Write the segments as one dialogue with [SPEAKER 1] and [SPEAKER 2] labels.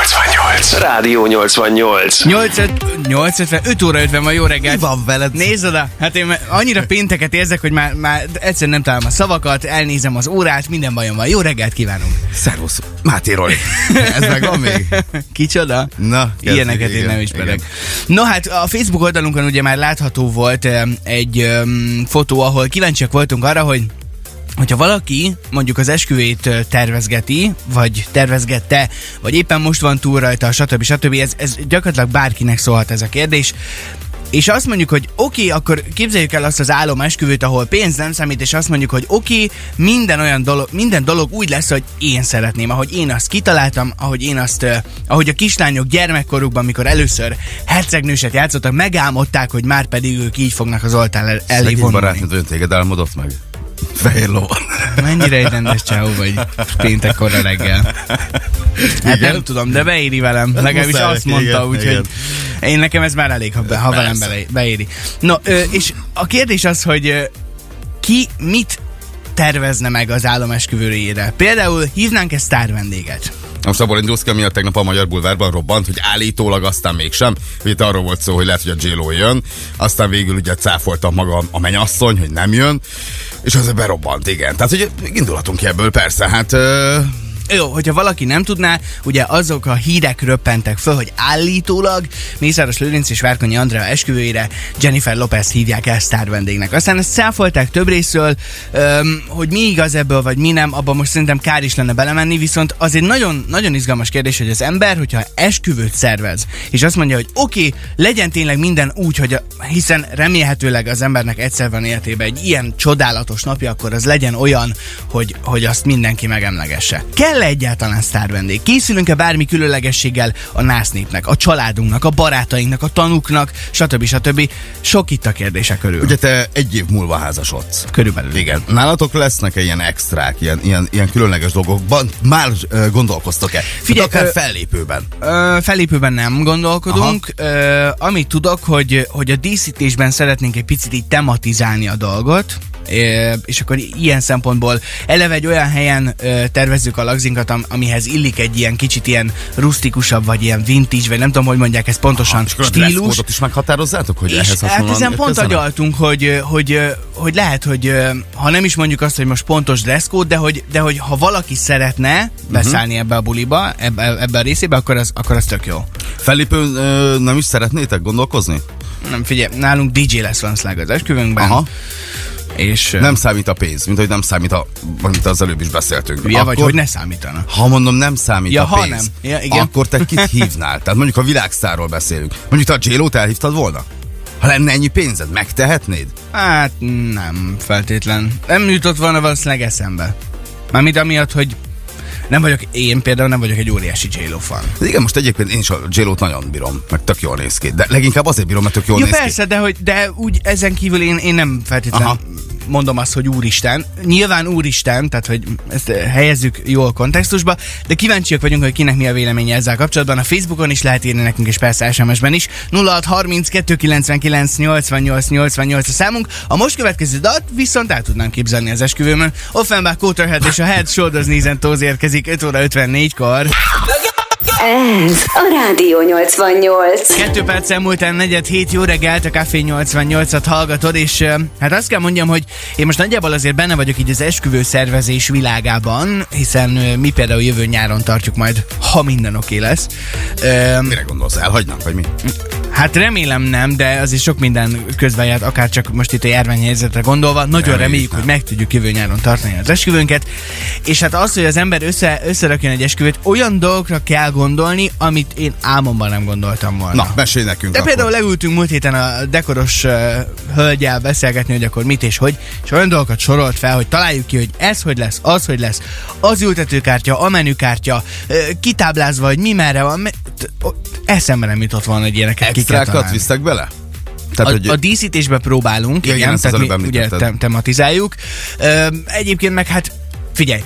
[SPEAKER 1] 8. Rádió 88.
[SPEAKER 2] 8, 8 5 óra 50 van, jó reggel.
[SPEAKER 3] Mi van veled?
[SPEAKER 2] Nézd oda, hát én már annyira pénteket érzek, hogy már, már egyszerűen nem találom a szavakat, elnézem az órát, minden bajom van. Jó reggelt kívánunk.
[SPEAKER 3] Szervusz. Máté Roli. Ez meg van még?
[SPEAKER 2] Kicsoda?
[SPEAKER 3] Na, kezdjük.
[SPEAKER 2] Ilyeneket
[SPEAKER 3] Igen,
[SPEAKER 2] én nem ismerek.
[SPEAKER 3] igen.
[SPEAKER 2] No hát a Facebook oldalunkon ugye már látható volt em, egy em, fotó, ahol kíváncsiak voltunk arra, hogy Hogyha valaki mondjuk az esküvét ö, tervezgeti, vagy tervezgette, vagy éppen most van túl rajta, stb. stb. Ez, ez gyakorlatilag bárkinek szólhat ez a kérdés. És azt mondjuk, hogy oké, okay, akkor képzeljük el azt az álom esküvőt, ahol pénz nem számít, és azt mondjuk, hogy oké, okay, minden olyan dolog, minden dolog úgy lesz, hogy én szeretném, ahogy én azt kitaláltam, ahogy én azt, ö, ahogy a kislányok gyermekkorukban, mikor először hercegnőset játszottak, megálmodták, hogy már pedig ők így fognak az oltár el- elé
[SPEAKER 3] Szegény
[SPEAKER 2] vonulni.
[SPEAKER 3] barátnőt ön téged álmodott meg. Fehér lovon.
[SPEAKER 2] Mennyire egy rendes csávó vagy péntekkorra reggel? Hát
[SPEAKER 3] Igen?
[SPEAKER 2] nem tudom, de beéri velem. Legalábbis
[SPEAKER 3] muszáj
[SPEAKER 2] azt
[SPEAKER 3] neki,
[SPEAKER 2] mondta,
[SPEAKER 3] igen,
[SPEAKER 2] úgyhogy
[SPEAKER 3] igen.
[SPEAKER 2] én nekem ez már elég, ha, be, ha velem
[SPEAKER 3] Persze.
[SPEAKER 2] bele- beéri. Na, ö, és a kérdés az, hogy ö, ki mit tervezne meg az államesküvőjére? Például hívnánk ezt sztár vendéget.
[SPEAKER 3] Most abból indulsz ki, ami a tegnap a Magyar Bulvárban robbant, hogy állítólag aztán mégsem. Ugye itt arról volt szó, hogy lehet, hogy a J-Lo jön, aztán végül ugye cáfolta maga a menyasszony, hogy nem jön, és az berobbant, igen. Tehát, hogy indulhatunk ki ebből, persze, hát... Ö...
[SPEAKER 2] Jó, hogyha valaki nem tudná, ugye azok a hírek röppentek föl, hogy állítólag Mészáros Lőrinc és Várkonyi Andrea esküvőjére Jennifer Lopez hívják el sztár vendégnek. Aztán ezt száfolták több részről, öm, hogy mi igaz ebből, vagy mi nem, abban most szerintem kár is lenne belemenni, viszont az egy nagyon, nagyon izgalmas kérdés, hogy az ember, hogyha esküvőt szervez, és azt mondja, hogy oké, okay, legyen tényleg minden úgy, hogy a, hiszen remélhetőleg az embernek egyszer van életében egy ilyen csodálatos napja, akkor az legyen olyan, hogy, hogy azt mindenki megemlegesse. Kell -e egyáltalán sztárvendég? Készülünk-e bármi különlegességgel a nász népnek, a családunknak, a barátainknak, a tanuknak, stb. stb. Sok itt a kérdése körül.
[SPEAKER 3] Ugye te egy év múlva házasodsz.
[SPEAKER 2] Körülbelül.
[SPEAKER 3] Igen. Nálatok lesznek-e ilyen extrák, ilyen, ilyen, ilyen különleges dolgokban? Már ö, gondolkoztok-e?
[SPEAKER 2] Figyelj,
[SPEAKER 3] Figyelj, akár
[SPEAKER 2] ö,
[SPEAKER 3] fellépőben.
[SPEAKER 2] Ö, felépőben nem gondolkodunk. Ö, amit tudok, hogy, hogy a díszítésben szeretnénk egy picit így tematizálni a dolgot, ö, és akkor ilyen szempontból eleve egy olyan helyen ö, tervezzük a lagzinkat, am- amihez illik egy ilyen kicsit ilyen rustikusabb, vagy ilyen vintage, vagy nem tudom, hogy mondják ezt pontosan,
[SPEAKER 3] Ah, És akkor a
[SPEAKER 2] stílus.
[SPEAKER 3] dress is meghatározzátok, hogy
[SPEAKER 2] És
[SPEAKER 3] ehhez
[SPEAKER 2] hát
[SPEAKER 3] hasonlóan
[SPEAKER 2] ezen pont
[SPEAKER 3] érkezzenek?
[SPEAKER 2] agyaltunk, hogy, hogy, hogy lehet, hogy ha nem is mondjuk azt, hogy most pontos dresszkód, de hogy, de hogy ha valaki szeretne
[SPEAKER 3] Mhm.
[SPEAKER 2] beszállni ebbe a buliba, ebbe, ebbe a részébe, akkor az, akkor az tök jó.
[SPEAKER 3] Fellépőn ö, nem is szeretnétek gondolkozni?
[SPEAKER 2] Nem, figyelj, nálunk DJ lesz Lanszlág az esküvőnkben.
[SPEAKER 3] Aha.
[SPEAKER 2] És nem
[SPEAKER 3] Nem számít a pénz, mint hogy nem számít, a, amit az előbb is beszéltünk.
[SPEAKER 2] hülye vagy, hogy ne számítana.
[SPEAKER 3] Ha mondom, nem számít
[SPEAKER 2] Ja,
[SPEAKER 3] a
[SPEAKER 2] ha
[SPEAKER 3] pénz,
[SPEAKER 2] nem. Ja, igen.
[SPEAKER 3] akkor te kit hívnál? Tehát mondjuk a világszárról beszélünk. Mondjuk te a J-Lo-t elhívtad volna? Ha lenne ennyi pénzed, megtehetnéd?
[SPEAKER 2] Hát nem feltétlen. Nem jutott volna valószínűleg eszembe. Mármint amiatt, hogy nem vagyok, én például nem vagyok egy óriási j fan.
[SPEAKER 3] De Hát igen, most egyébként én is a j nagyon bírom, meg tök jól néz ki. De leginkább azért bírom, mert tök jól
[SPEAKER 2] Jó,
[SPEAKER 3] néz ki.
[SPEAKER 2] persze, de, hogy, de úgy ezen kívül én, én nem feltétlenül
[SPEAKER 3] Aha.
[SPEAKER 2] mondom azt, hogy úristen. Nyilván úristen, tehát hogy ezt eh, helyezzük jól kontextusba, de kíváncsiak vagyunk, hogy kinek mi a véleménye ezzel kapcsolatban. A Facebookon is lehet írni nekünk, és persze SMS-ben is. 0630 299 88 88 a számunk. A most következő dalt viszont el tudnám képzelni az esküvőmön. Offenbach, Quarterhead és a Head Shoulders Knees and Toes érkezik 5 óra 54-kor.
[SPEAKER 4] Ez a Rádió 88.
[SPEAKER 2] Kettő perc elmúlt el negyed hét, jó reggelt, a Café 88-at hallgatod, és ö, hát azt kell mondjam, hogy én most nagyjából azért benne vagyok így az esküvő szervezés világában, hiszen ö, mi például jövő nyáron tartjuk majd, ha minden oké lesz. Ö,
[SPEAKER 3] Mire gondolsz, elhagynak, vagy mi?
[SPEAKER 2] Hát remélem nem, de azért sok minden közben járt, akár csak most itt a járványhelyzetre gondolva. Nagyon reméljük,
[SPEAKER 3] Reméljük
[SPEAKER 2] reméljük
[SPEAKER 3] nem.
[SPEAKER 2] hogy meg tudjuk jövő nyáron tartani az esküvőnket. És hát az, hogy az ember össze, összerakjon egy esküvőt, olyan dolgokra kell gondolni, amit én álmomban nem gondoltam volna.
[SPEAKER 3] Na, mesélj nekünk
[SPEAKER 2] De
[SPEAKER 3] akkor.
[SPEAKER 2] például leültünk múlt héten a dekoros uh, hölgyel beszélgetni, hogy akkor mit és hogy, és olyan dolgokat sorolt fel, hogy találjuk ki, hogy ez hogy lesz, az hogy lesz, az ültetőkártya, a menükártya, uh, kitáblázva, hogy mi merre van. Me- t- o- eszembe nem jutott volna, hogy ilyeneket ki kell
[SPEAKER 3] Extrákat
[SPEAKER 2] találni.
[SPEAKER 3] visztek bele? Tehát,
[SPEAKER 2] a,
[SPEAKER 3] hogy
[SPEAKER 2] a díszítésbe próbálunk,
[SPEAKER 3] Ja,
[SPEAKER 2] igen,
[SPEAKER 3] igen,
[SPEAKER 2] igen
[SPEAKER 3] ezt az
[SPEAKER 2] tehát mi
[SPEAKER 3] előbb
[SPEAKER 2] ugye
[SPEAKER 3] említetted.
[SPEAKER 2] tem- tematizáljuk. Öm, egyébként meg hát, figyelj,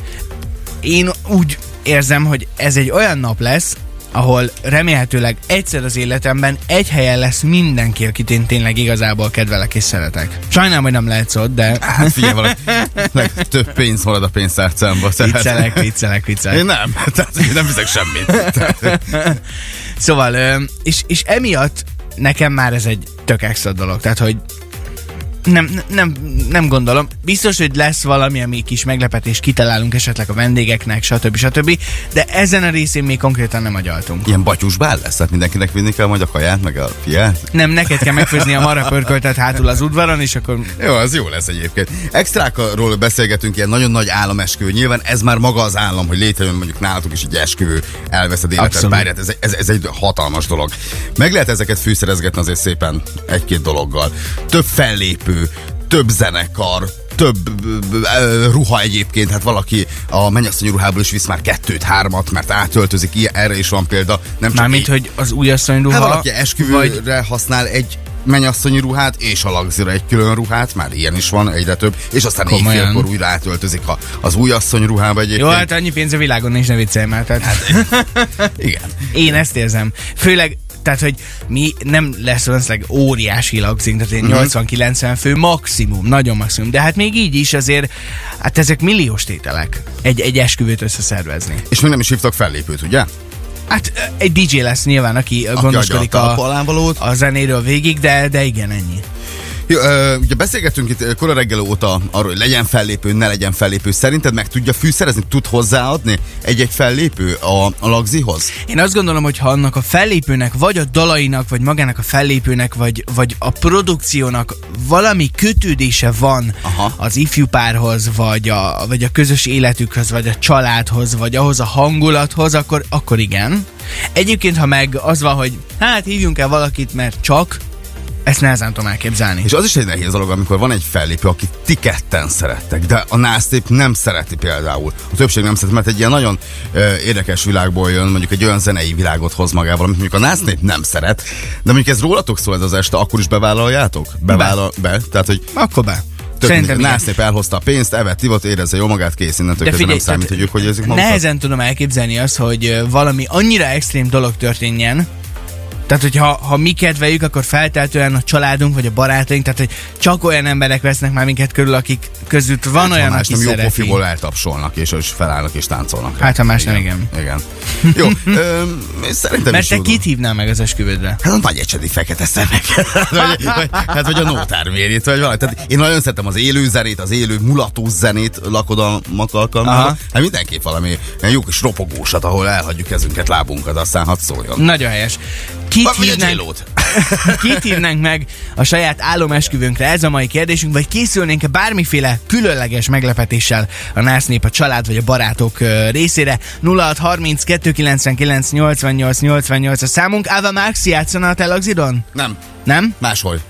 [SPEAKER 2] én úgy érzem, hogy ez egy olyan nap lesz, ahol remélhetőleg egyszer az életemben egy helyen lesz mindenki, akit én tényleg igazából kedvelek és szeretek. Sajnálom, hogy nem lehetsz ott, de
[SPEAKER 3] Hát figyelj, valaki, leg- több pénz marad a pénztárcámba. tehát-
[SPEAKER 2] viccelek, viccelek, viccelek.
[SPEAKER 3] Én nem, tehát én nem hiszek semmit. Tehát,
[SPEAKER 2] Szóval, ö, és, és emiatt nekem már ez egy tök extra dolog. Tehát, hogy nem, nem, nem gondolom. Biztos, hogy lesz valami, ami kis meglepetés kitalálunk esetleg a vendégeknek, stb. stb. De ezen a részén még konkrétan nem agyaltunk.
[SPEAKER 3] Ilyen batyus bál lesz, tehát mindenkinek vinni kell majd a kaját, meg a fiát.
[SPEAKER 2] Nem, neked kell megfőzni a marra pörköltet hátul az udvaron, és akkor
[SPEAKER 3] Jó, az jó lesz egyébként. Extrákról beszélgetünk, ilyen nagyon nagy államesküvő. Nyilván ez már maga az állam, hogy létrejön mondjuk nálatok is egy esküvő, elveszed életed
[SPEAKER 2] Abszolút.
[SPEAKER 3] párját. Ez, ez, ez, egy hatalmas dolog. Meg lehet ezeket fűszerezgetni azért szépen egy-két dologgal. Több fellépő, több zenekar, több ö, ö, ruha egyébként, hát valaki a mennyasszony ruhából is visz már kettőt, hármat, mert átöltözik, ilyen, erre is van példa. Nem csak
[SPEAKER 2] mármint,
[SPEAKER 3] egy-
[SPEAKER 2] hogy az újasszony ruha,
[SPEAKER 3] Hát valaki esküvőre vagy... használ egy mennyasszonyi ruhát, és a lagzira egy külön ruhát, már ilyen is van, egyre több, és aztán
[SPEAKER 2] Komolyan.
[SPEAKER 3] éjfélkor újra átöltözik a, az új asszony ruhába
[SPEAKER 2] Jó,
[SPEAKER 3] egyébként.
[SPEAKER 2] hát annyi pénz a világon nincs, ne viccelj már. Tehát
[SPEAKER 3] Hát, Igen.
[SPEAKER 2] én ezt érzem. Főleg, tehát, hogy mi nem lesz valószínűleg óriási lagzink, tehát
[SPEAKER 3] Mhm.
[SPEAKER 2] ilyen 80-90 fő maximum, nagyon maximum. De hát még így is azért, hát ezek milliós tételek egy, egy esküvőt összeszervezni.
[SPEAKER 3] És még nem is hívtak fellépőt, ugye?
[SPEAKER 2] Hát ö, egy DJ lesz nyilván, aki, aki gondoskodik
[SPEAKER 3] adja a
[SPEAKER 2] a,
[SPEAKER 3] talpalánvalót.
[SPEAKER 2] a zenéről végig, de, de igen, ennyi.
[SPEAKER 3] Jó, ö, ugye beszélgettünk itt ö, kora reggel óta arról, hogy legyen fellépő, ne legyen fellépő. Szerinted meg tudja fűszerezni, tud hozzáadni egy-egy fellépő a, a lagzihoz?
[SPEAKER 2] Én azt gondolom, hogy ha annak a fellépőnek, vagy a dalainak, vagy magának a fellépőnek, vagy, vagy a produkciónak valami kötődése van
[SPEAKER 3] Aha.
[SPEAKER 2] az ifjú párhoz, vagy a, vagy a közös életükhöz, vagy a családhoz, vagy ahhoz a hangulathoz, akkor, akkor igen. Egyébként, ha meg az van, hogy hát hívjunk el valakit, mert csak, ezt nehezen tudom elképzelni.
[SPEAKER 3] És az is egy nehéz dolog, amikor van egy fellépő, aki ti ketten szerettek, de a násztép nem szereti például. A többség nem szereti, mert egy ilyen nagyon ö, érdekes világból jön, mondjuk egy olyan zenei világot hoz magával, amit mondjuk a násztép nem szeret. De mondjuk ez rólatok szól ez az este, akkor is bevállaljátok? Bevállal, be. Tehát, hogy
[SPEAKER 2] Akkor be.
[SPEAKER 3] tök mindegy,
[SPEAKER 2] Szerintem
[SPEAKER 3] a
[SPEAKER 2] igen.
[SPEAKER 3] násztép elhozta a pénzt, evett, ivott, érezze jól magát, kész, innentől
[SPEAKER 2] De
[SPEAKER 3] kezdve
[SPEAKER 2] figyelj,
[SPEAKER 3] nem számít, hogy
[SPEAKER 2] tehát
[SPEAKER 3] ők hogy érzik magukat.
[SPEAKER 2] Nehezen tudom elképzelni azt, hogy ö, valami annyira extrém dolog történjen, tehát, hogyha ha mi kedveljük, akkor feltétlenül a családunk vagy a barátaink, tehát, hogy csak olyan emberek vesznek már minket körül, akik között van
[SPEAKER 3] Hát, Ha
[SPEAKER 2] olyan,
[SPEAKER 3] más
[SPEAKER 2] aki
[SPEAKER 3] nem jó
[SPEAKER 2] szereti.
[SPEAKER 3] pofiból eltapsolnak, és, és felállnak és táncolnak.
[SPEAKER 2] Hát, ha más nem,
[SPEAKER 3] Igen. Jó, ö, szerintem
[SPEAKER 2] Mert
[SPEAKER 3] is
[SPEAKER 2] te
[SPEAKER 3] jó
[SPEAKER 2] kit hívnál meg az esküvődre?
[SPEAKER 3] Hát a nagy ecsedi fekete szemek. vagy, vagy, hát vagy a nótármérjét, vagy valami. Tehát én nagyon szeretem az élő zenét, az élő mulató zenét lakodalmak alkalmával.
[SPEAKER 2] Aha.
[SPEAKER 3] Hát mindenképp valami ilyen jó kis ropogósat, ahol elhagyjuk kezünket, lábunkat, aztán hadd szóljon.
[SPEAKER 2] Nagyon helyes. Kit
[SPEAKER 3] Vagy a
[SPEAKER 2] hívnánk,
[SPEAKER 3] J-Lo-t.
[SPEAKER 2] kit hívnánk meg a saját álomesküvőnkre? Ez a mai kérdésünk, vagy készülnénk bármiféle különleges meglepetéssel a NASZ nép, a család vagy a barátok ö, részére? 0630 299 88 88 a számunk. Ava Max játszana a Telagzidon?
[SPEAKER 3] Nem,
[SPEAKER 2] Nem?
[SPEAKER 3] máshol.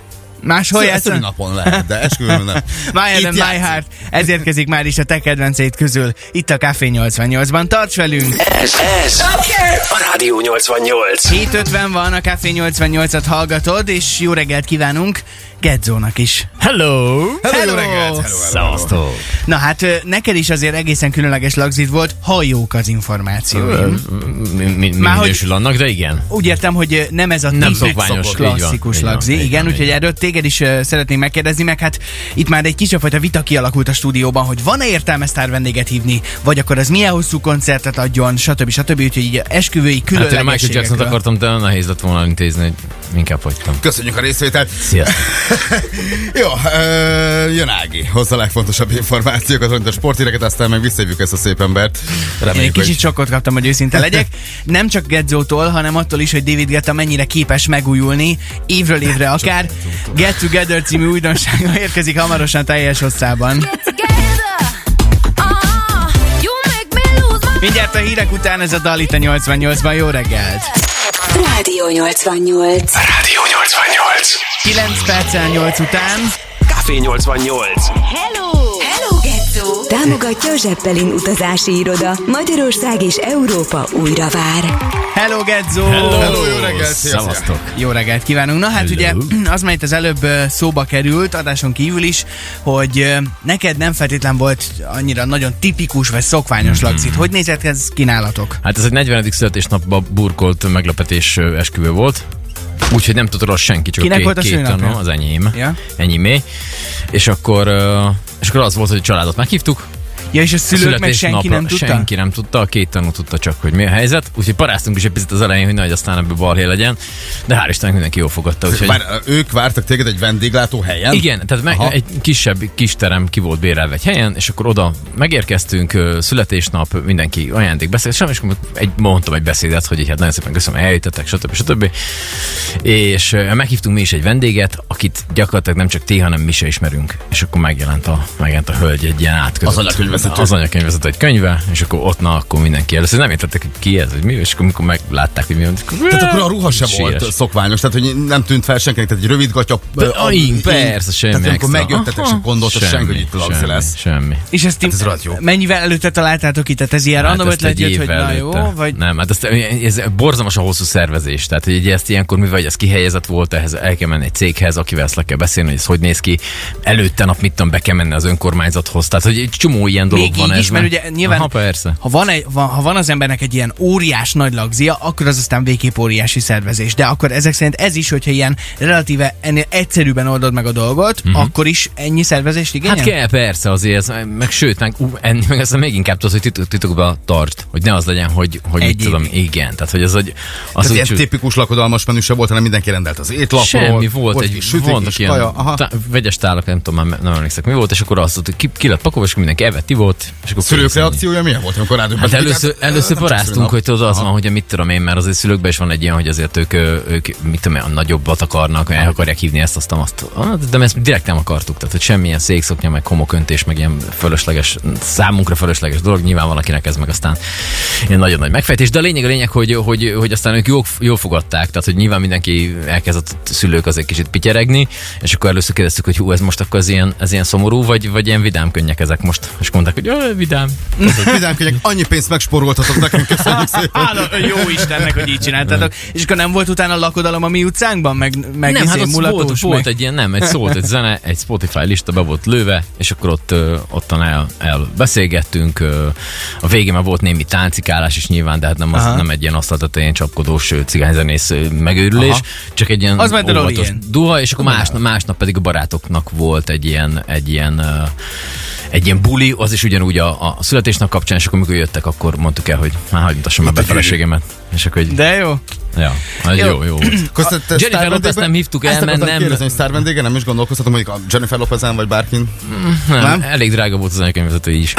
[SPEAKER 2] Máshol
[SPEAKER 3] Szilveszteri
[SPEAKER 2] játszana?
[SPEAKER 3] napon lehet, de esküvőn nem.
[SPEAKER 2] My Head
[SPEAKER 3] Szóval Itt
[SPEAKER 2] and My
[SPEAKER 3] játszik.
[SPEAKER 2] Heart. Ez érkezik már is a te kedvenceid közül. Itt a Café 88-ban. Tarts velünk!
[SPEAKER 1] Ez, ez a Rádió 88.
[SPEAKER 2] 7.50 van, a Café 88-at hallgatod, és jó reggelt kívánunk Gedzónak is.
[SPEAKER 5] Hello!
[SPEAKER 3] Hello, jó
[SPEAKER 2] Hello!
[SPEAKER 3] reggelt! hello, hello.
[SPEAKER 5] Szevasztok!
[SPEAKER 2] Na hát ö, neked is azért egészen különleges lagzit volt, ha jók az információim.
[SPEAKER 5] Mi, mi, mi
[SPEAKER 2] Már hogy-
[SPEAKER 5] minősül annak, de igen.
[SPEAKER 2] Úgy értem, hogy ö, nem ez a
[SPEAKER 5] Nem
[SPEAKER 2] ti
[SPEAKER 5] szokványos, így van,
[SPEAKER 2] klasszikus
[SPEAKER 5] így van,
[SPEAKER 2] lagzi.
[SPEAKER 5] így van,
[SPEAKER 2] Igen,
[SPEAKER 5] így
[SPEAKER 2] úgyhogy
[SPEAKER 5] van.
[SPEAKER 2] erről téged is ö, szeretném megkérdezni, meg hát itt már egy kisebb fajta vita kialakult a stúdióban, hogy van-e értelme sztár vendéget hívni, vagy akkor az milyen hosszú koncertet adjon, stb. stb. Úgyhogy így esküvői
[SPEAKER 5] Hát én a Michael Jackson-t
[SPEAKER 2] különlegességekről.
[SPEAKER 5] akartam, de nehéz lett volna intézni, hogy inkább hagytam.
[SPEAKER 3] Köszönjük a részvételt.
[SPEAKER 5] Sziasztok!
[SPEAKER 3] Jó, ö, jön Ági, hozza a legfontosabb információkat, mint a sportíreket, aztán meg visszajövjük ezt a szép embert.
[SPEAKER 2] Én egy
[SPEAKER 3] Reméljük,
[SPEAKER 2] kicsit
[SPEAKER 3] hogy
[SPEAKER 2] sokkot kaptam, hogy őszinte legyek. Nem csak Gedzótól, hanem attól is, hogy David Getta mennyire képes megújulni, évről évre akár. Get Together című újdonsága érkezik hamarosan teljes hosszában. Mindjárt a hírek után ez a dal itt a 88-ban. Jó reggelt!
[SPEAKER 4] Rádió 88.
[SPEAKER 1] Rádió 88.
[SPEAKER 2] 9 perccel 8 után.
[SPEAKER 1] Café 88.
[SPEAKER 4] Hello, Getzo!
[SPEAKER 6] Támogatja a Zseppelin utazási iroda. Magyarország és Európa újra vár.
[SPEAKER 2] Hello, Gedzó!
[SPEAKER 3] Hello, jó reggelt, szia, szia.
[SPEAKER 5] Szevasztok!
[SPEAKER 2] Jó reggelt kívánunk! Na hát
[SPEAKER 5] Hello.
[SPEAKER 2] ugye az, melyet az előbb ö, szóba került, adáson kívül is, hogy ö, neked nem feltétlen volt annyira nagyon tipikus vagy szokványos lagzit. Hogy nézett ez kínálatok?
[SPEAKER 5] Hát ez egy 40. születésnapba burkolt meglepetés ö, esküvő volt. Úgyhogy nem tudott róla senki, csak
[SPEAKER 2] Kinek
[SPEAKER 5] a
[SPEAKER 2] volt
[SPEAKER 5] két,
[SPEAKER 2] a
[SPEAKER 5] két
[SPEAKER 2] szülinapja?
[SPEAKER 5] tanom, az enyém.
[SPEAKER 2] Ja.
[SPEAKER 5] Enyémé. És akkor, ö, és akkor az volt, hogy a családot meghívtuk,
[SPEAKER 2] Ja, és a szülők meg senki nem tudta?
[SPEAKER 5] Senki nem tudta, a két tanú tudta csak, hogy mi a helyzet. Úgyhogy paráztunk is egy picit az elején, hogy nagy aztán ebből balhé legyen. De hál' Istennek mindenki jól fogadta. Úgyhogy...
[SPEAKER 3] Bár ők vártak téged egy vendéglátó helyen?
[SPEAKER 5] Igen, tehát meg
[SPEAKER 3] Aha.
[SPEAKER 5] egy kisebb kis terem ki volt bérelve egy helyen, és akkor oda megérkeztünk, ö, születésnap, mindenki ajándék beszélt, sem, és akkor egy, mondtam egy beszédet, hogy így, hát nagyon szépen köszönöm, eljöttetek, stb. stb. És ö, meghívtunk mi is egy vendéget, akit gyakorlatilag nem csak ti, hanem mi se ismerünk. És akkor megjelent a, megjelent a hölgy egy ilyen átközött.
[SPEAKER 3] Az anyakönyvvezető.
[SPEAKER 5] Az anyakönyvvezető egy könyve, és akkor ott, na, akkor mindenki először nem értettek, hogy ki ez, hogy mi, és akkor amikor meglátták, hogy mi van.
[SPEAKER 3] Tehát akkor a ruha sem
[SPEAKER 5] Siess.
[SPEAKER 3] volt szokványos, tehát hogy nem tűnt fel senkinek, tehát egy rövid gatya.
[SPEAKER 5] De,
[SPEAKER 3] ö,
[SPEAKER 5] a,
[SPEAKER 3] a-
[SPEAKER 5] ing,
[SPEAKER 3] ing.
[SPEAKER 5] persze, semmi
[SPEAKER 3] Tehát amikor
[SPEAKER 5] extra.
[SPEAKER 3] megjöttetek,
[SPEAKER 5] Aha.
[SPEAKER 3] sem gondolta senki, hogy itt lagzi
[SPEAKER 5] semmi,
[SPEAKER 3] lesz.
[SPEAKER 5] Semmi.
[SPEAKER 2] És ezt
[SPEAKER 3] ez
[SPEAKER 2] hát
[SPEAKER 3] rohadt jó.
[SPEAKER 2] mennyivel előtte találtátok itt? Tehát ez ilyen random
[SPEAKER 5] Hát ezt
[SPEAKER 2] ötlet
[SPEAKER 5] egy
[SPEAKER 2] jött, hogy
[SPEAKER 5] évvel
[SPEAKER 2] na jó,
[SPEAKER 5] előtte.
[SPEAKER 2] vagy...
[SPEAKER 5] Nem, hát ezt, ez borzalmas a hosszú szervezés. Tehát, hogy ugye ezt ilyenkor, mivel ez kihelyezett volt, ehhez el kell menni egy céghez, akivel ezt le kell beszélni, hogy ez hogy néz ki. Előtte nap mit tudom, be kell menni az önkormányzathoz. Tehát, hogy egy csomó ilyen dolog
[SPEAKER 2] Még
[SPEAKER 5] van
[SPEAKER 2] így
[SPEAKER 5] ez.
[SPEAKER 2] is, mert ugye nyilván,
[SPEAKER 5] Aha, persze.
[SPEAKER 2] Ha, van egy, van, ha van az embernek egy ilyen óriás nagy lagzia, akkor az aztán végképp óriási szervezés. De akkor ezek szerint ez is, hogyha ilyen relatíve ennél egyszerűbben oldod meg a dolgot, uh-huh. akkor is ennyi szervezést igényel?
[SPEAKER 5] Mhm. Hát kell, persze azért, ez, meg sőt, meg, ú, enni, meg aztán még inkább tudod, hogy titok, titokba tart, hogy ne az legyen, hogy, hogy mit
[SPEAKER 2] Egy
[SPEAKER 5] tudom,
[SPEAKER 2] évig.
[SPEAKER 5] igen, tehát hogy az, hogy az
[SPEAKER 3] Az
[SPEAKER 5] úgy
[SPEAKER 3] ilyen
[SPEAKER 5] csú-
[SPEAKER 3] tipikus lakodalmas menü se volt, hanem mindenki rendelt az étlapról.
[SPEAKER 5] Semmi, volt,
[SPEAKER 3] kis
[SPEAKER 5] egy,
[SPEAKER 3] sütik,
[SPEAKER 5] voltak
[SPEAKER 3] kis
[SPEAKER 5] ilyen
[SPEAKER 3] kaja, aha.
[SPEAKER 5] tá- vegyes tálak, nem tudom, már nem emlékszek mi volt, és akkor azt tudtuk, ki, ki lett pakolva, és akkor mindenki evett, ivott, és akkor
[SPEAKER 3] Szülők
[SPEAKER 5] kész ennyi.
[SPEAKER 3] reakciója milyen volt, amikor rád
[SPEAKER 5] Hát először, először paráztunk,
[SPEAKER 3] paráztunk,
[SPEAKER 5] hogy tudod, az van, hogy mit tudom én, mert azért szülőkben is van egy ilyen, hogy azért ők, ö, ők mit tudom én, a nagyobbat akarnak, el akarják hívni ezt, azt, azt. De mi ezt direkt nem akartuk, tehát hogy semmilyen székszoknya, meg homoköntés, meg ilyen fölösleges, számunkra fölösleges dolog, nyilván valakinek ez meg aztán ilyen nagyon nagy megfejtés. De a lényeg a lényeg, hogy, hogy, hogy aztán ők jól, jól fogadták, tehát hogy nyilván mindenki elkezdett a szülők azért kicsit pityeregni, és akkor először kérdeztük, hogy hú, ez most akkor az ilyen, ez ilyen szomorú, vagy, vagy ilyen vidám könnyek ezek most. És mondták, hogy "Ö, vidám,
[SPEAKER 3] Vidámkönyek, annyi pénzt megspóroltatok nekünk, köszönjük szépen.
[SPEAKER 2] Hála jó Istennek, hogy így csináltatok. És akkor nem volt utána lakodalom a mi utcánkban? Meg, meg
[SPEAKER 5] nem,
[SPEAKER 2] izé,
[SPEAKER 5] hát ott
[SPEAKER 2] mulatós,
[SPEAKER 5] volt,
[SPEAKER 2] meg...
[SPEAKER 5] volt egy ilyen, nem, egy szólt egy zene, egy Spotify lista be volt lőve, és akkor ott, ö, ottan el, el beszélgettünk, ö, a végén már volt némi táncikálás is nyilván, de hát nem, az,
[SPEAKER 2] Aha.
[SPEAKER 5] nem egy ilyen asztalt, tehát ilyen csapkodós ö, cigányzenész ö, megőrülés,
[SPEAKER 2] Aha.
[SPEAKER 5] csak egy ilyen
[SPEAKER 2] Az már de
[SPEAKER 5] óvatos
[SPEAKER 2] Lorien.
[SPEAKER 5] duha, és akkor másnap, másnap pedig a barátoknak volt egy ilyen, egy ilyen ö, egy ilyen buli, az is ugyanúgy a, a születésnap kapcsán, és akkor amikor jöttek, akkor mondtuk el, hogy már hagyd mutassam már be a feleségemet. És akkor így,
[SPEAKER 2] De jó.
[SPEAKER 5] ja, hát
[SPEAKER 2] Jó.
[SPEAKER 5] jó, jó volt.
[SPEAKER 3] Köszönöm, te
[SPEAKER 5] Jennifer
[SPEAKER 3] sztár
[SPEAKER 5] Lopez-t nem hívtuk el,
[SPEAKER 3] Ezt akartam
[SPEAKER 5] mert nem-
[SPEAKER 3] kérdezni, hogy sztár vendége, nem is gondolkoztatom, mondjuk a Jennifer Lopezen vagy bárkin.
[SPEAKER 5] Nem,
[SPEAKER 3] Nem?
[SPEAKER 5] nem? elég drága volt az anyakönyvvezető így is.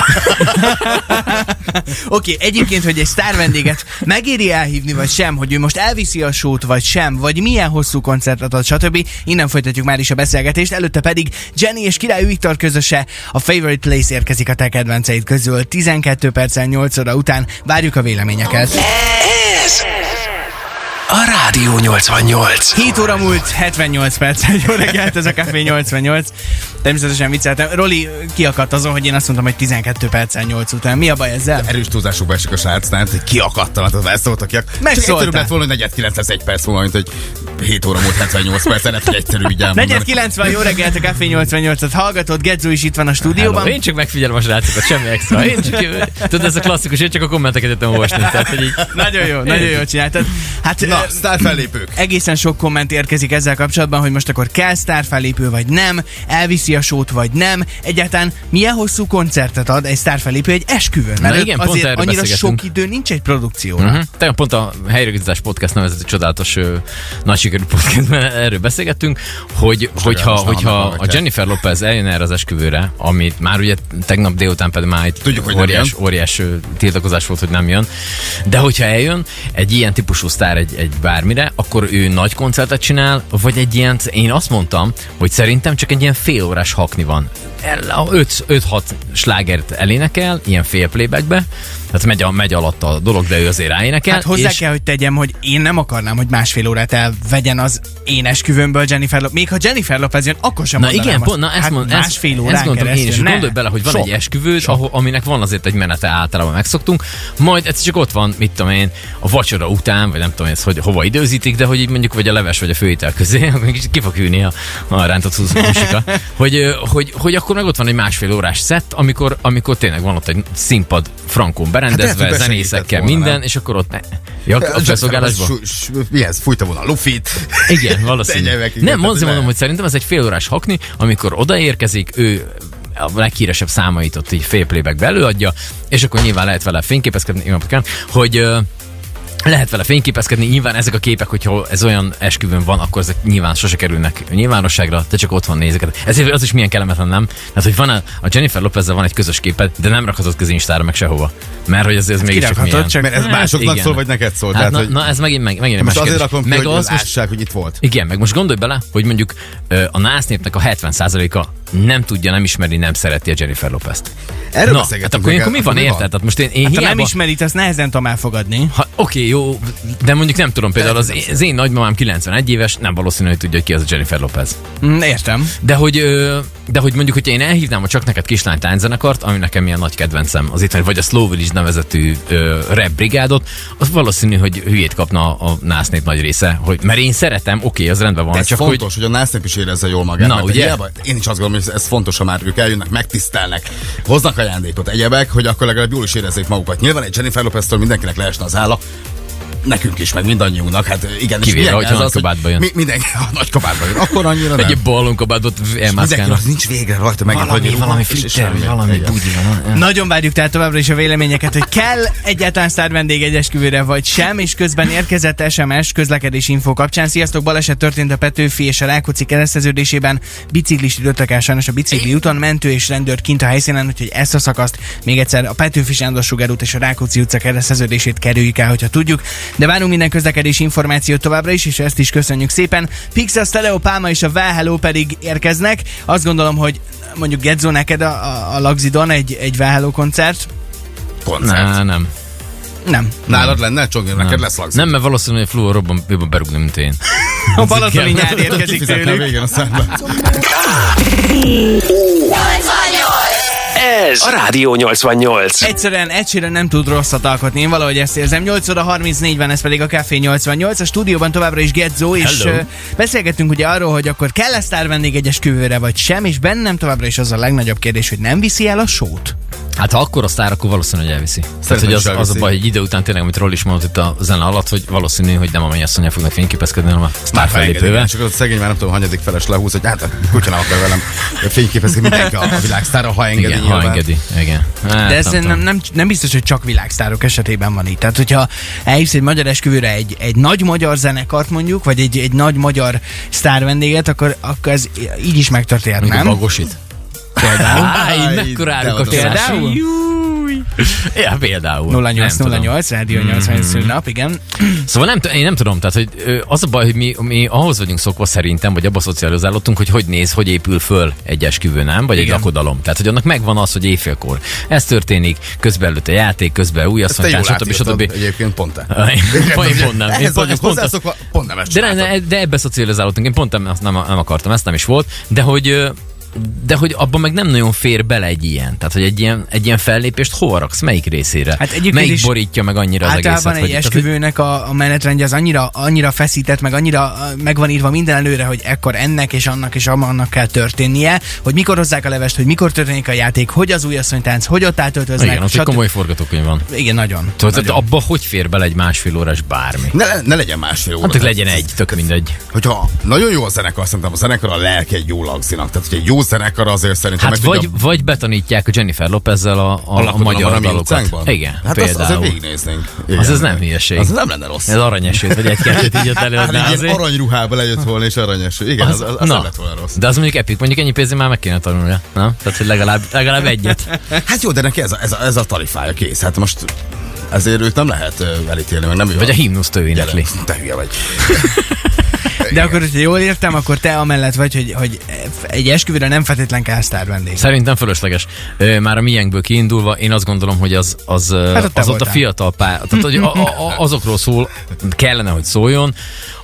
[SPEAKER 2] Oké, okay, egyébként, hogy egy sztár vendéget megéri elhívni, vagy sem, hogy ő most elviszi a sót, vagy sem, vagy milyen hosszú koncertet ad, stb. Innen folytatjuk már is a beszélgetést, előtte pedig Jenny és Király Viktor közöse a Favorite Place érkezik a te kedvenceid közül. 12 percen 8 óra után várjuk a véleményeket.
[SPEAKER 1] Ez a Rádió 88.
[SPEAKER 2] 7 óra múlt, 78 perc. Jó reggelt, ez a Café 88. Természetesen vicceltem. Roli kiakadt azon, hogy én azt mondtam, hogy 12 percen 8 után. Mi a baj ezzel?
[SPEAKER 3] Erős túlzásokba esik a srácnál, hogy kiakadtam, hát az elszóltak ki.
[SPEAKER 2] Megszóltál.
[SPEAKER 3] Egyszerűbb lett volna, hogy 4.901 perc volna, mint hogy 7 óra múlt 78 perc, lehet, hogy egyszerű így elmondani.
[SPEAKER 2] Negyed 90, jó reggelt, a Café 88-at hallgatod, Gedzó is itt van a
[SPEAKER 5] Hello,
[SPEAKER 2] stúdióban.
[SPEAKER 5] én csak megfigyelem a srácokat, semmi extra. Én csak, tudod, ez a klasszikus, én csak a kommenteket jöttem olvasni. Tehát, hogy így,
[SPEAKER 2] Nagyon jó, nagyon jól csináltad. Hát
[SPEAKER 3] Na,
[SPEAKER 2] Na.
[SPEAKER 3] sztár fellépők.
[SPEAKER 2] egészen sok komment érkezik ezzel kapcsolatban, hogy most akkor kell sztárfelépő vagy nem, elviszi a sót vagy nem, egyáltalán milyen hosszú koncertet ad egy sztárfelépő egy esküvőn, mert
[SPEAKER 5] Na
[SPEAKER 2] ők
[SPEAKER 5] igen, pont
[SPEAKER 2] azért
[SPEAKER 5] erről
[SPEAKER 2] annyira
[SPEAKER 5] beszélgetünk.
[SPEAKER 2] sok idő nincs egy produkcióra.
[SPEAKER 5] Mhm. Tegnap pont a Helyreigazítás Podcast nevezetű csodálatos ö, nagy sikerű podcastben erről beszélgettünk, hogy, hogyha,
[SPEAKER 3] most nem
[SPEAKER 5] hogyha
[SPEAKER 3] hallgatom,
[SPEAKER 5] a
[SPEAKER 3] hogy
[SPEAKER 5] Jennifer Lopez eljön erre az esküvőre, amit már ugye tegnap délután pedig már itt
[SPEAKER 3] Tudjuk, hogy nem
[SPEAKER 5] óriás,
[SPEAKER 3] jön.
[SPEAKER 5] óriás ö, tiltakozás volt, hogy nem jön, de hogyha eljön egy ilyen típusú sztár egy, egy bármire, akkor ő nagy koncertet csinál, vagy egy ilyen, én azt mondtam, hogy szerintem csak egy ilyen félórás hakni van. El- a 5-6 slágert elénekel, ilyen fél playbackbe, tehát megy, a, megy alatt a dolog, de ő azért ráénekel.
[SPEAKER 2] Hát hozzá
[SPEAKER 5] és-
[SPEAKER 2] kell, hogy tegyem, hogy én nem akarnám, hogy másfél órát elvegyen az én esküvőmből Jennifer Lopez. Még ha Jennifer Lopez jön, akkor sem
[SPEAKER 5] Na
[SPEAKER 2] mondanám
[SPEAKER 5] igen,
[SPEAKER 2] azt.
[SPEAKER 5] pont, na ezt,
[SPEAKER 2] hát
[SPEAKER 5] mond, ezt,
[SPEAKER 2] másfél órán
[SPEAKER 5] ezt gondolom én
[SPEAKER 2] keresztül.
[SPEAKER 5] is, hogy
[SPEAKER 2] ne.
[SPEAKER 5] gondolj bele, hogy van
[SPEAKER 2] Sok.
[SPEAKER 5] egy esküvőd, ahol, aminek van azért egy menete általában megszoktunk, majd egyszer csak ott van, mit tudom én, a vacsora után, vagy nem tudom ez, hogy hova időzítik, de hogy így mondjuk vagy a leves, vagy a főétel közé, akkor kicsit ki fog hűlni a, a rántott húzósika, hogy, ö, hogy, hogy, akkor meg ott van egy másfél órás szett, amikor, amikor tényleg van ott egy színpad frankon
[SPEAKER 3] Hát
[SPEAKER 5] berendezve,
[SPEAKER 3] lehet, hogy
[SPEAKER 5] zenészekkel,
[SPEAKER 3] besegített volna,
[SPEAKER 5] minden,
[SPEAKER 3] nem?
[SPEAKER 5] és akkor ott ne. Ja, a felszolgálásban?
[SPEAKER 3] Su- su- Mi ez? Fújta volna a lufit.
[SPEAKER 5] Igen, valószínű.
[SPEAKER 3] Tegye meg, igen,
[SPEAKER 5] nem,
[SPEAKER 3] tehát
[SPEAKER 5] azért
[SPEAKER 3] ne.
[SPEAKER 5] mondom, hogy szerintem ez egy fél órás hakni, amikor odaérkezik, ő a leghíresebb számait ott így fél playbackbe előadja, és akkor nyilván lehet vele fényképezkedni, jó napot kívánok, hogy ö, lehet vele fényképezkedni, nyilván ezek a képek, hogyha ez olyan esküvőn van, akkor ezek nyilván sose kerülnek nyilvánosságra, te csak otthon nézeket. Ezért az is milyen kellemetlen, nem? Tehát, hogy van a, a Jennifer lopez van egy közös képed, de nem rakhatod közé Instára meg sehova. Mert hogy ez, ez mégis csak
[SPEAKER 2] kirakhatod,
[SPEAKER 5] milyen.
[SPEAKER 2] csak-
[SPEAKER 3] Mert ez
[SPEAKER 5] Hát
[SPEAKER 3] másoknak
[SPEAKER 5] igen.
[SPEAKER 3] szól, vagy neked szól.
[SPEAKER 5] Hát
[SPEAKER 3] tehát,
[SPEAKER 5] na,
[SPEAKER 3] hogy
[SPEAKER 5] na, ez megint, meg, megint egy
[SPEAKER 3] most
[SPEAKER 5] másik
[SPEAKER 3] azért
[SPEAKER 5] kérdés.
[SPEAKER 3] rakom ki,
[SPEAKER 5] meg
[SPEAKER 3] hogy
[SPEAKER 5] az, most,
[SPEAKER 3] lássák, hogy itt volt.
[SPEAKER 5] igen, meg most gondolj bele, hogy mondjuk ö, a nász népnek a 70%-a nem tudja, nem ismeri, nem szereti a Jennifer Lopez-t.
[SPEAKER 3] Erről
[SPEAKER 5] Na,
[SPEAKER 3] beszélgetünk,
[SPEAKER 5] hát
[SPEAKER 3] igen,
[SPEAKER 5] akkor ilyenkor mi
[SPEAKER 3] akkor
[SPEAKER 5] van
[SPEAKER 3] mi van? Hát
[SPEAKER 5] érted? Tehát most én, én
[SPEAKER 2] Hát, Ha
[SPEAKER 5] hiába...
[SPEAKER 2] nem ismerit, azt nehezen tudom elfogadni.
[SPEAKER 5] Ha, oké, jó, de mondjuk nem tudom, például az, az én nagymamám 91 éves, nem valószínű, hogy tudja, hogy ki az a Jennifer Lopez.
[SPEAKER 2] Mm, Értem.
[SPEAKER 5] De hogy, ö, de hogy mondjuk, hogyha én elhívnám a Csak Neked Kislány tánczenekart, ami nekem ilyen nagy kedvencem, az itt vagy a Slow Village nevezetű ö, rap brigádot, az valószínű, hogy hülyét kapna a násznép nagy része, hogy, mert én szeretem, oké, az rendben van,
[SPEAKER 3] De ez
[SPEAKER 5] csak
[SPEAKER 3] csak
[SPEAKER 5] hogy...
[SPEAKER 3] fontos, hogy, hogy a NASZNEP is érezze jól magát.
[SPEAKER 5] Na,
[SPEAKER 3] mert
[SPEAKER 5] ugye?
[SPEAKER 3] hiába- Én is azt gondolom, hogy ez fontos, ha már ők eljönnek, megtisztelnek, hoznak ajándékot, egyebek, hogy akkor legalább jól is érezzék magukat. Nyilván egy Jennifer Lopez-től mindenkinek leesne az álla, nekünk is, meg mindannyiunknak. Hát igen,
[SPEAKER 5] Kivéve, hogyha nagy kabátba jön.
[SPEAKER 3] Mi, mindenki a nagy kabátba jön. Akkor annyira nem.
[SPEAKER 5] Egy balonkabátot
[SPEAKER 3] És mindenki
[SPEAKER 5] elmászkálnak.
[SPEAKER 3] az nincs végre rajta, meg
[SPEAKER 5] Valami, valami flitter, vagy valami budi van.
[SPEAKER 2] Nagyon várjuk tehát továbbra is a véleményeket, hogy kell egyáltalán sztár vendég egy esküvőre, vagy sem, és közben érkezett SMS közlekedési info kapcsán. Sziasztok, baleset történt a Petőfi és a Rákóczi kereszteződésében. Biciklist ütöttek el sajnos a bicikli úton, mentő és rendőr kint a helyszínen, úgyhogy ezt a szakaszt még egyszer a Petőfi Sándor Sugár út és a Rákóczi utca kereszteződését kerüljük el, hogyha tudjuk. De várunk minden közlekedési információt továbbra is, és ezt is köszönjük szépen. Pixel Stereo Pálma és a Well Hello pedig érkeznek. Azt gondolom, hogy mondjuk Gedzo neked a, a, a Lagzidon egy, egy Well Hello koncert?
[SPEAKER 3] koncert.
[SPEAKER 5] Nah, nem.
[SPEAKER 2] Nem.
[SPEAKER 3] Nálad lenne, Csogi, neked lesz lagzik.
[SPEAKER 5] Nem, mert valószínűleg a Fluor robban, jobban berúgni, mint én.
[SPEAKER 2] A Balatoni
[SPEAKER 5] igen.
[SPEAKER 2] nyár érkezik
[SPEAKER 3] Fizetne a
[SPEAKER 2] tőlük.
[SPEAKER 3] végén a számlát.
[SPEAKER 1] Ez a Rádió 88.
[SPEAKER 2] Egyszerűen egy Sheeran nem tud rosszat alkotni, én valahogy ezt érzem. 8 óra 34 van, ez pedig a Café 88. A stúdióban továbbra is Gedzo, és
[SPEAKER 5] Hello.
[SPEAKER 2] ö, beszélgettünk ugye arról, hogy akkor kell-e sztár vendég egy esküvőre, vagy sem, és bennem továbbra is az a legnagyobb kérdés, hogy nem viszi el a sót.
[SPEAKER 5] Hát ha akkor a sztár, akkor valószínűleg elviszi. Tehát, hogy
[SPEAKER 3] is
[SPEAKER 5] az, az a
[SPEAKER 3] elviszi.
[SPEAKER 5] baj, hogy idő után tényleg, amit Roll is mondott itt a zene alatt, hogy valószínű, hogy nem a mennyasszonyjal fognak fényképezkedni, hanem a sztár
[SPEAKER 3] Már felépővel.
[SPEAKER 5] fellépővel.
[SPEAKER 3] Csak az a szegény már nem tudom, hanyadik feles lehúz, hogy hát a kutya nem akar velem fényképezni mindenki a világsztára, ha engedi.
[SPEAKER 5] Igen, ha
[SPEAKER 3] nyilván.
[SPEAKER 5] engedi. Igen. Hát,
[SPEAKER 2] De ez nem,
[SPEAKER 5] tudom.
[SPEAKER 2] nem, nem, nem biztos, hogy csak világsztárok esetében van itt. Tehát, hogyha elhívsz egy magyar esküvőre egy, egy nagy magyar zenekart mondjuk, vagy egy, egy nagy magyar sztár vendéget, akkor, akkor ez így is megtörténhet,
[SPEAKER 5] Amikor
[SPEAKER 2] nem?
[SPEAKER 5] bagosít. Például. Áj, mekkora
[SPEAKER 3] de
[SPEAKER 5] áruk a
[SPEAKER 3] oda
[SPEAKER 5] például? Ja, például. Nem
[SPEAKER 2] 08
[SPEAKER 5] tudom.
[SPEAKER 2] 08, Rádió
[SPEAKER 5] Mhm.
[SPEAKER 2] 80 szülnap, igen.
[SPEAKER 5] Szóval nem, t- én nem tudom, tehát hogy ö, az a baj, hogy mi, mi ahhoz vagyunk szokva szerintem, vagy abba szocializálódtunk, hogy hogy néz, hogy épül föl egy esküvő, nem? Vagy egy lakodalom. Tehát, hogy annak megvan az, hogy éjfélkor. Ez történik, közben előtte játék, közben új
[SPEAKER 3] Ezt te jól
[SPEAKER 5] asszonykás, stb.
[SPEAKER 3] átírtad
[SPEAKER 5] stb.
[SPEAKER 3] egyébként pont te.
[SPEAKER 5] Pont-
[SPEAKER 3] ugye,
[SPEAKER 5] pont nem. Én
[SPEAKER 3] Ehhez
[SPEAKER 5] pont-
[SPEAKER 3] vagyok
[SPEAKER 5] pont-
[SPEAKER 3] hozzászokva, pont nem ezt
[SPEAKER 5] De,
[SPEAKER 3] csináltad.
[SPEAKER 5] ne, de ebbe szocializálódtunk, én pont nem, azt nem, nem akartam, ezt nem is volt, de hogy ö, de hogy abban meg nem nagyon fér bele egy ilyen. Tehát, hogy egy ilyen, egy ilyen fellépést hova raksz, melyik részére?
[SPEAKER 2] Hát egyébként
[SPEAKER 5] melyik
[SPEAKER 2] is
[SPEAKER 5] borítja meg annyira az egészet?
[SPEAKER 2] Általában egy
[SPEAKER 5] hogy- tehát, hogy-
[SPEAKER 2] esküvőnek a, a menetrendje az annyira, annyira feszített, meg annyira ö, meg van írva minden előre, hogy ekkor ennek és annak és annak kell történnie, hogy mikor hozzák a levest, hogy mikor történik a játék, hogy az újasszonytánc, hogy ott átöltöznek.
[SPEAKER 5] Igen, ott egy
[SPEAKER 2] stb.
[SPEAKER 5] komoly forgatókönyv van.
[SPEAKER 2] Igen, nagyon.
[SPEAKER 5] Tudod, tehát abba hogy fér bele egy másfél órás bármi?
[SPEAKER 3] Ne, ne legyen másfél óra.
[SPEAKER 5] Nem csak Hát, legyen egy, tök mindegy.
[SPEAKER 3] Hogyha nagyon jó a zenekar, szerintem a zenekar a lelke egy jó lagzinak. Tehát, hogy egy jó zenekar azért szerintem...
[SPEAKER 5] Hát
[SPEAKER 3] meg
[SPEAKER 5] vagy,
[SPEAKER 3] tudja-
[SPEAKER 5] vagy betanítják a Jennifer Lopezzel a, a, a, a
[SPEAKER 3] lakodalom van
[SPEAKER 5] magyar
[SPEAKER 3] mi
[SPEAKER 5] dalokat.
[SPEAKER 3] utcánkban?
[SPEAKER 5] Igen,
[SPEAKER 3] hát azt, azért
[SPEAKER 5] például.
[SPEAKER 3] végignéznénk. Igen.
[SPEAKER 5] Az, az nem hülyeség.
[SPEAKER 3] Az nem lenne rossz.
[SPEAKER 5] Ez aranyesőt, vagy egy-kettőt így ott előadná
[SPEAKER 3] Hát egy
[SPEAKER 5] azért.
[SPEAKER 3] ilyen aranyruhába lejött volna, és aranyeső. Igen, az, az, az nem lett volna rossz.
[SPEAKER 5] De az mondjuk epik, mondjuk ennyi pénzért már meg kéne tanulnia, nem? Tehát, hogy legalább, legalább egyet.
[SPEAKER 3] Hát jó, de neki ez a, ez a, ez a tarifája kész. Hát most ezért őt nem lehet ö, elítélni, meg nem ő.
[SPEAKER 5] Vagy a
[SPEAKER 3] hív.
[SPEAKER 5] himnuszt ő énekli.
[SPEAKER 3] Te hülye vagy.
[SPEAKER 2] De akkor, hogyha jól értem, akkor te amellett vagy, hogy, hogy egy esküvőre nem feltétlen kell sztár vendég.
[SPEAKER 5] Szerintem fölösleges. Ö, Már a miénkből kiindulva, én azt gondolom, hogy az, az,
[SPEAKER 2] Hát
[SPEAKER 5] hát
[SPEAKER 2] ott te
[SPEAKER 5] az ott a
[SPEAKER 2] voltál.
[SPEAKER 5] fiatal pár, tehát hogy a, a, a- azokról szól, kellene, hogy szóljon,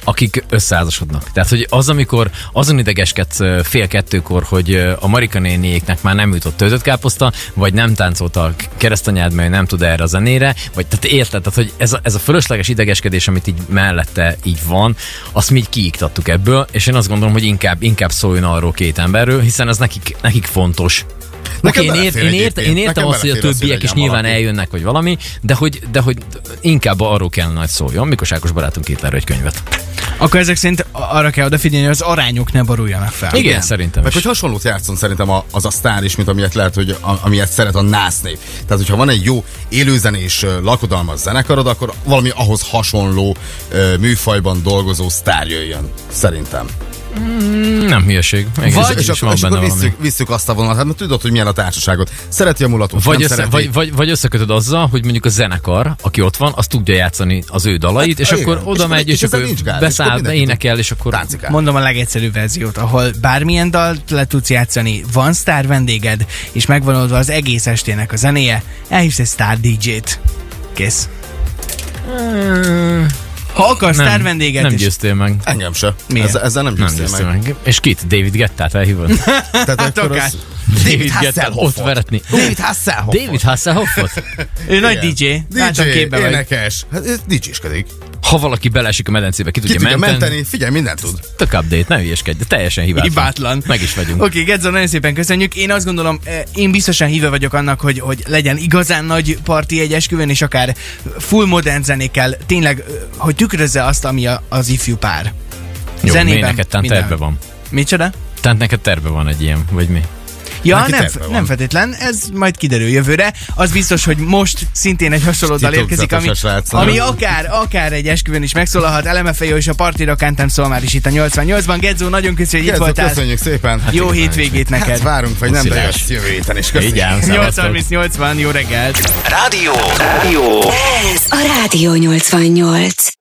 [SPEAKER 5] akik összeházasodnak. Tehát, hogy az, amikor azon idegeskedsz ö, fél kettőkor, hogy ö, a Marika néniéknek már nem jutott töltött káposzta, vagy nem táncolt a keresztanyád, mert ő nem tud erre a zenére, vagy tehát érted, tehát, hogy ez a, ez a fölösleges idegeskedés, amit így mellette így van, azt mi így kiiktattuk ebből, és én azt gondolom, hogy inkább, inkább szóljon arról két emberről, hiszen ez nekik, nekik fontos. Oké, én, ér,
[SPEAKER 3] belefér
[SPEAKER 5] én, ért,
[SPEAKER 3] egyébként.
[SPEAKER 5] én értem
[SPEAKER 3] Nekem
[SPEAKER 5] azt, hogy a
[SPEAKER 3] belefér az,
[SPEAKER 5] többiek is
[SPEAKER 3] legyen
[SPEAKER 5] nyilván
[SPEAKER 3] valaki.
[SPEAKER 5] eljönnek, vagy valami, de hogy, de hogy inkább arról kellene, hogy szóljon, mikor Ákos barátunk írt erről egy könyvet.
[SPEAKER 3] Hát
[SPEAKER 2] Akkor ezek szerint arra kell odafigyelni, hogy az arányok ne boruljanak fel.
[SPEAKER 5] Igen, szerintem
[SPEAKER 3] Meg
[SPEAKER 5] is.
[SPEAKER 3] hogy hasonlót játszon szerintem a, az a sztár is, mint amilyet lehet, hogy a, amilyet szeret a nász nép. Tehát, hogyha van egy jó élőzenés, ö, lakodalmas zenekarod, akkor valami ahhoz hasonló ö, műfajban dolgozó sztár jöjjön, szerintem.
[SPEAKER 5] Nem hülyeség. Igen,
[SPEAKER 3] Vagy,
[SPEAKER 5] ez
[SPEAKER 3] és,
[SPEAKER 5] is
[SPEAKER 3] akkor,
[SPEAKER 5] van
[SPEAKER 3] és
[SPEAKER 5] benne
[SPEAKER 3] akkor
[SPEAKER 5] valami.
[SPEAKER 3] visszük, visszük azt a vonalat, hát mert tudod, hogy milyen a társaságot. Szereti a mulatot,
[SPEAKER 5] Vagy,
[SPEAKER 3] nem
[SPEAKER 5] össze,
[SPEAKER 3] szereti.
[SPEAKER 5] vagy, vagy, vagy összekötöd azzal, hogy mondjuk a zenekar, aki ott van, az tudja játszani az ő dalait, és
[SPEAKER 3] Hát, igen.
[SPEAKER 5] akkor oda
[SPEAKER 3] És
[SPEAKER 5] megy,
[SPEAKER 3] akkor-
[SPEAKER 5] és,
[SPEAKER 3] és ezzel
[SPEAKER 5] akkor
[SPEAKER 3] nincs gáz, és akkor
[SPEAKER 5] beszáll,
[SPEAKER 3] mindenki
[SPEAKER 5] énekel, és akkor...
[SPEAKER 3] Táncikál.
[SPEAKER 2] Mondom a legegyszerűbb verziót, ahol bármilyen dalt le tudsz játszani, van sztár vendéged, és megvan oldva az egész estének a zenéje, elhívsz egy sztár DJ-t. Kész. Ha akarsz
[SPEAKER 5] Nem,
[SPEAKER 2] sztár vendéget,
[SPEAKER 5] nem
[SPEAKER 2] és
[SPEAKER 5] győztél meg.
[SPEAKER 3] Engem se.
[SPEAKER 2] Miért?
[SPEAKER 3] Ezzel, ezzel nem
[SPEAKER 5] Nem
[SPEAKER 3] győztél
[SPEAKER 5] győztél
[SPEAKER 3] meg.
[SPEAKER 5] meg. És kit? David Gettát elhívod?
[SPEAKER 3] Tehát akkor
[SPEAKER 2] akár.
[SPEAKER 3] az...
[SPEAKER 5] David Gettát ott
[SPEAKER 3] Hasselhoffot.
[SPEAKER 5] veretni.
[SPEAKER 3] David Hasselhoff.
[SPEAKER 5] David Hasselhoffot?
[SPEAKER 2] ő nagy DJ,
[SPEAKER 3] Igen.
[SPEAKER 2] látom
[SPEAKER 3] DJ,
[SPEAKER 2] képbe vagy.
[SPEAKER 3] énekes. Hát ez dicséskedik.
[SPEAKER 5] Ha valaki belesik a medencébe, ki
[SPEAKER 3] Ki
[SPEAKER 5] tudja,
[SPEAKER 3] tudja
[SPEAKER 5] menteni?
[SPEAKER 3] menteni, figyelj, mindent tud.
[SPEAKER 5] Tök update, ne hülyeskedj, de teljesen hibátlan.
[SPEAKER 2] Hibátlan.
[SPEAKER 5] Meg is vagyunk.
[SPEAKER 2] Oké, okay, Gedzo, nagyon szépen köszönjük. Én azt gondolom, eh, én biztosan híve vagyok annak, hogy, hogy legyen igazán nagy parti egy esküvőn, és akár full modern zenékkel, tényleg, eh, hogy tükrözze azt, ami a, az ifjú pár.
[SPEAKER 5] Jó,
[SPEAKER 2] Zenében,
[SPEAKER 5] mi neked tán
[SPEAKER 2] minden.
[SPEAKER 5] terve van?
[SPEAKER 2] Micsoda?
[SPEAKER 5] Tehát neked terve van egy ilyen, vagy mi?
[SPEAKER 2] Ja,
[SPEAKER 3] Neki
[SPEAKER 2] nem,
[SPEAKER 3] terve van.
[SPEAKER 2] nem feltétlen, ez majd kiderül jövőre. Az biztos, hogy most szintén egy hasonló dal érkezik, ami,
[SPEAKER 3] Titokzatos a srác, nem?
[SPEAKER 2] ami akár, akár egy esküvőn is megszólalhat. Elemefejó és a partira kentem szól már is itt a 88-ban. Gedzó, nagyon köszönjük, hogy itt
[SPEAKER 3] Gedzo,
[SPEAKER 2] voltál.
[SPEAKER 3] köszönjük szépen.
[SPEAKER 2] Jó
[SPEAKER 5] igen,
[SPEAKER 2] hétvégét
[SPEAKER 3] Hát
[SPEAKER 2] neked.
[SPEAKER 3] várunk, vagy nem, de
[SPEAKER 5] Puszilás.
[SPEAKER 3] jössz jövő héten is. Köszönjük.
[SPEAKER 5] Igen, szevasztok.
[SPEAKER 2] 830-80, jó reggelt!
[SPEAKER 1] Rádió. Rádió.
[SPEAKER 4] Ez a Rádió 88.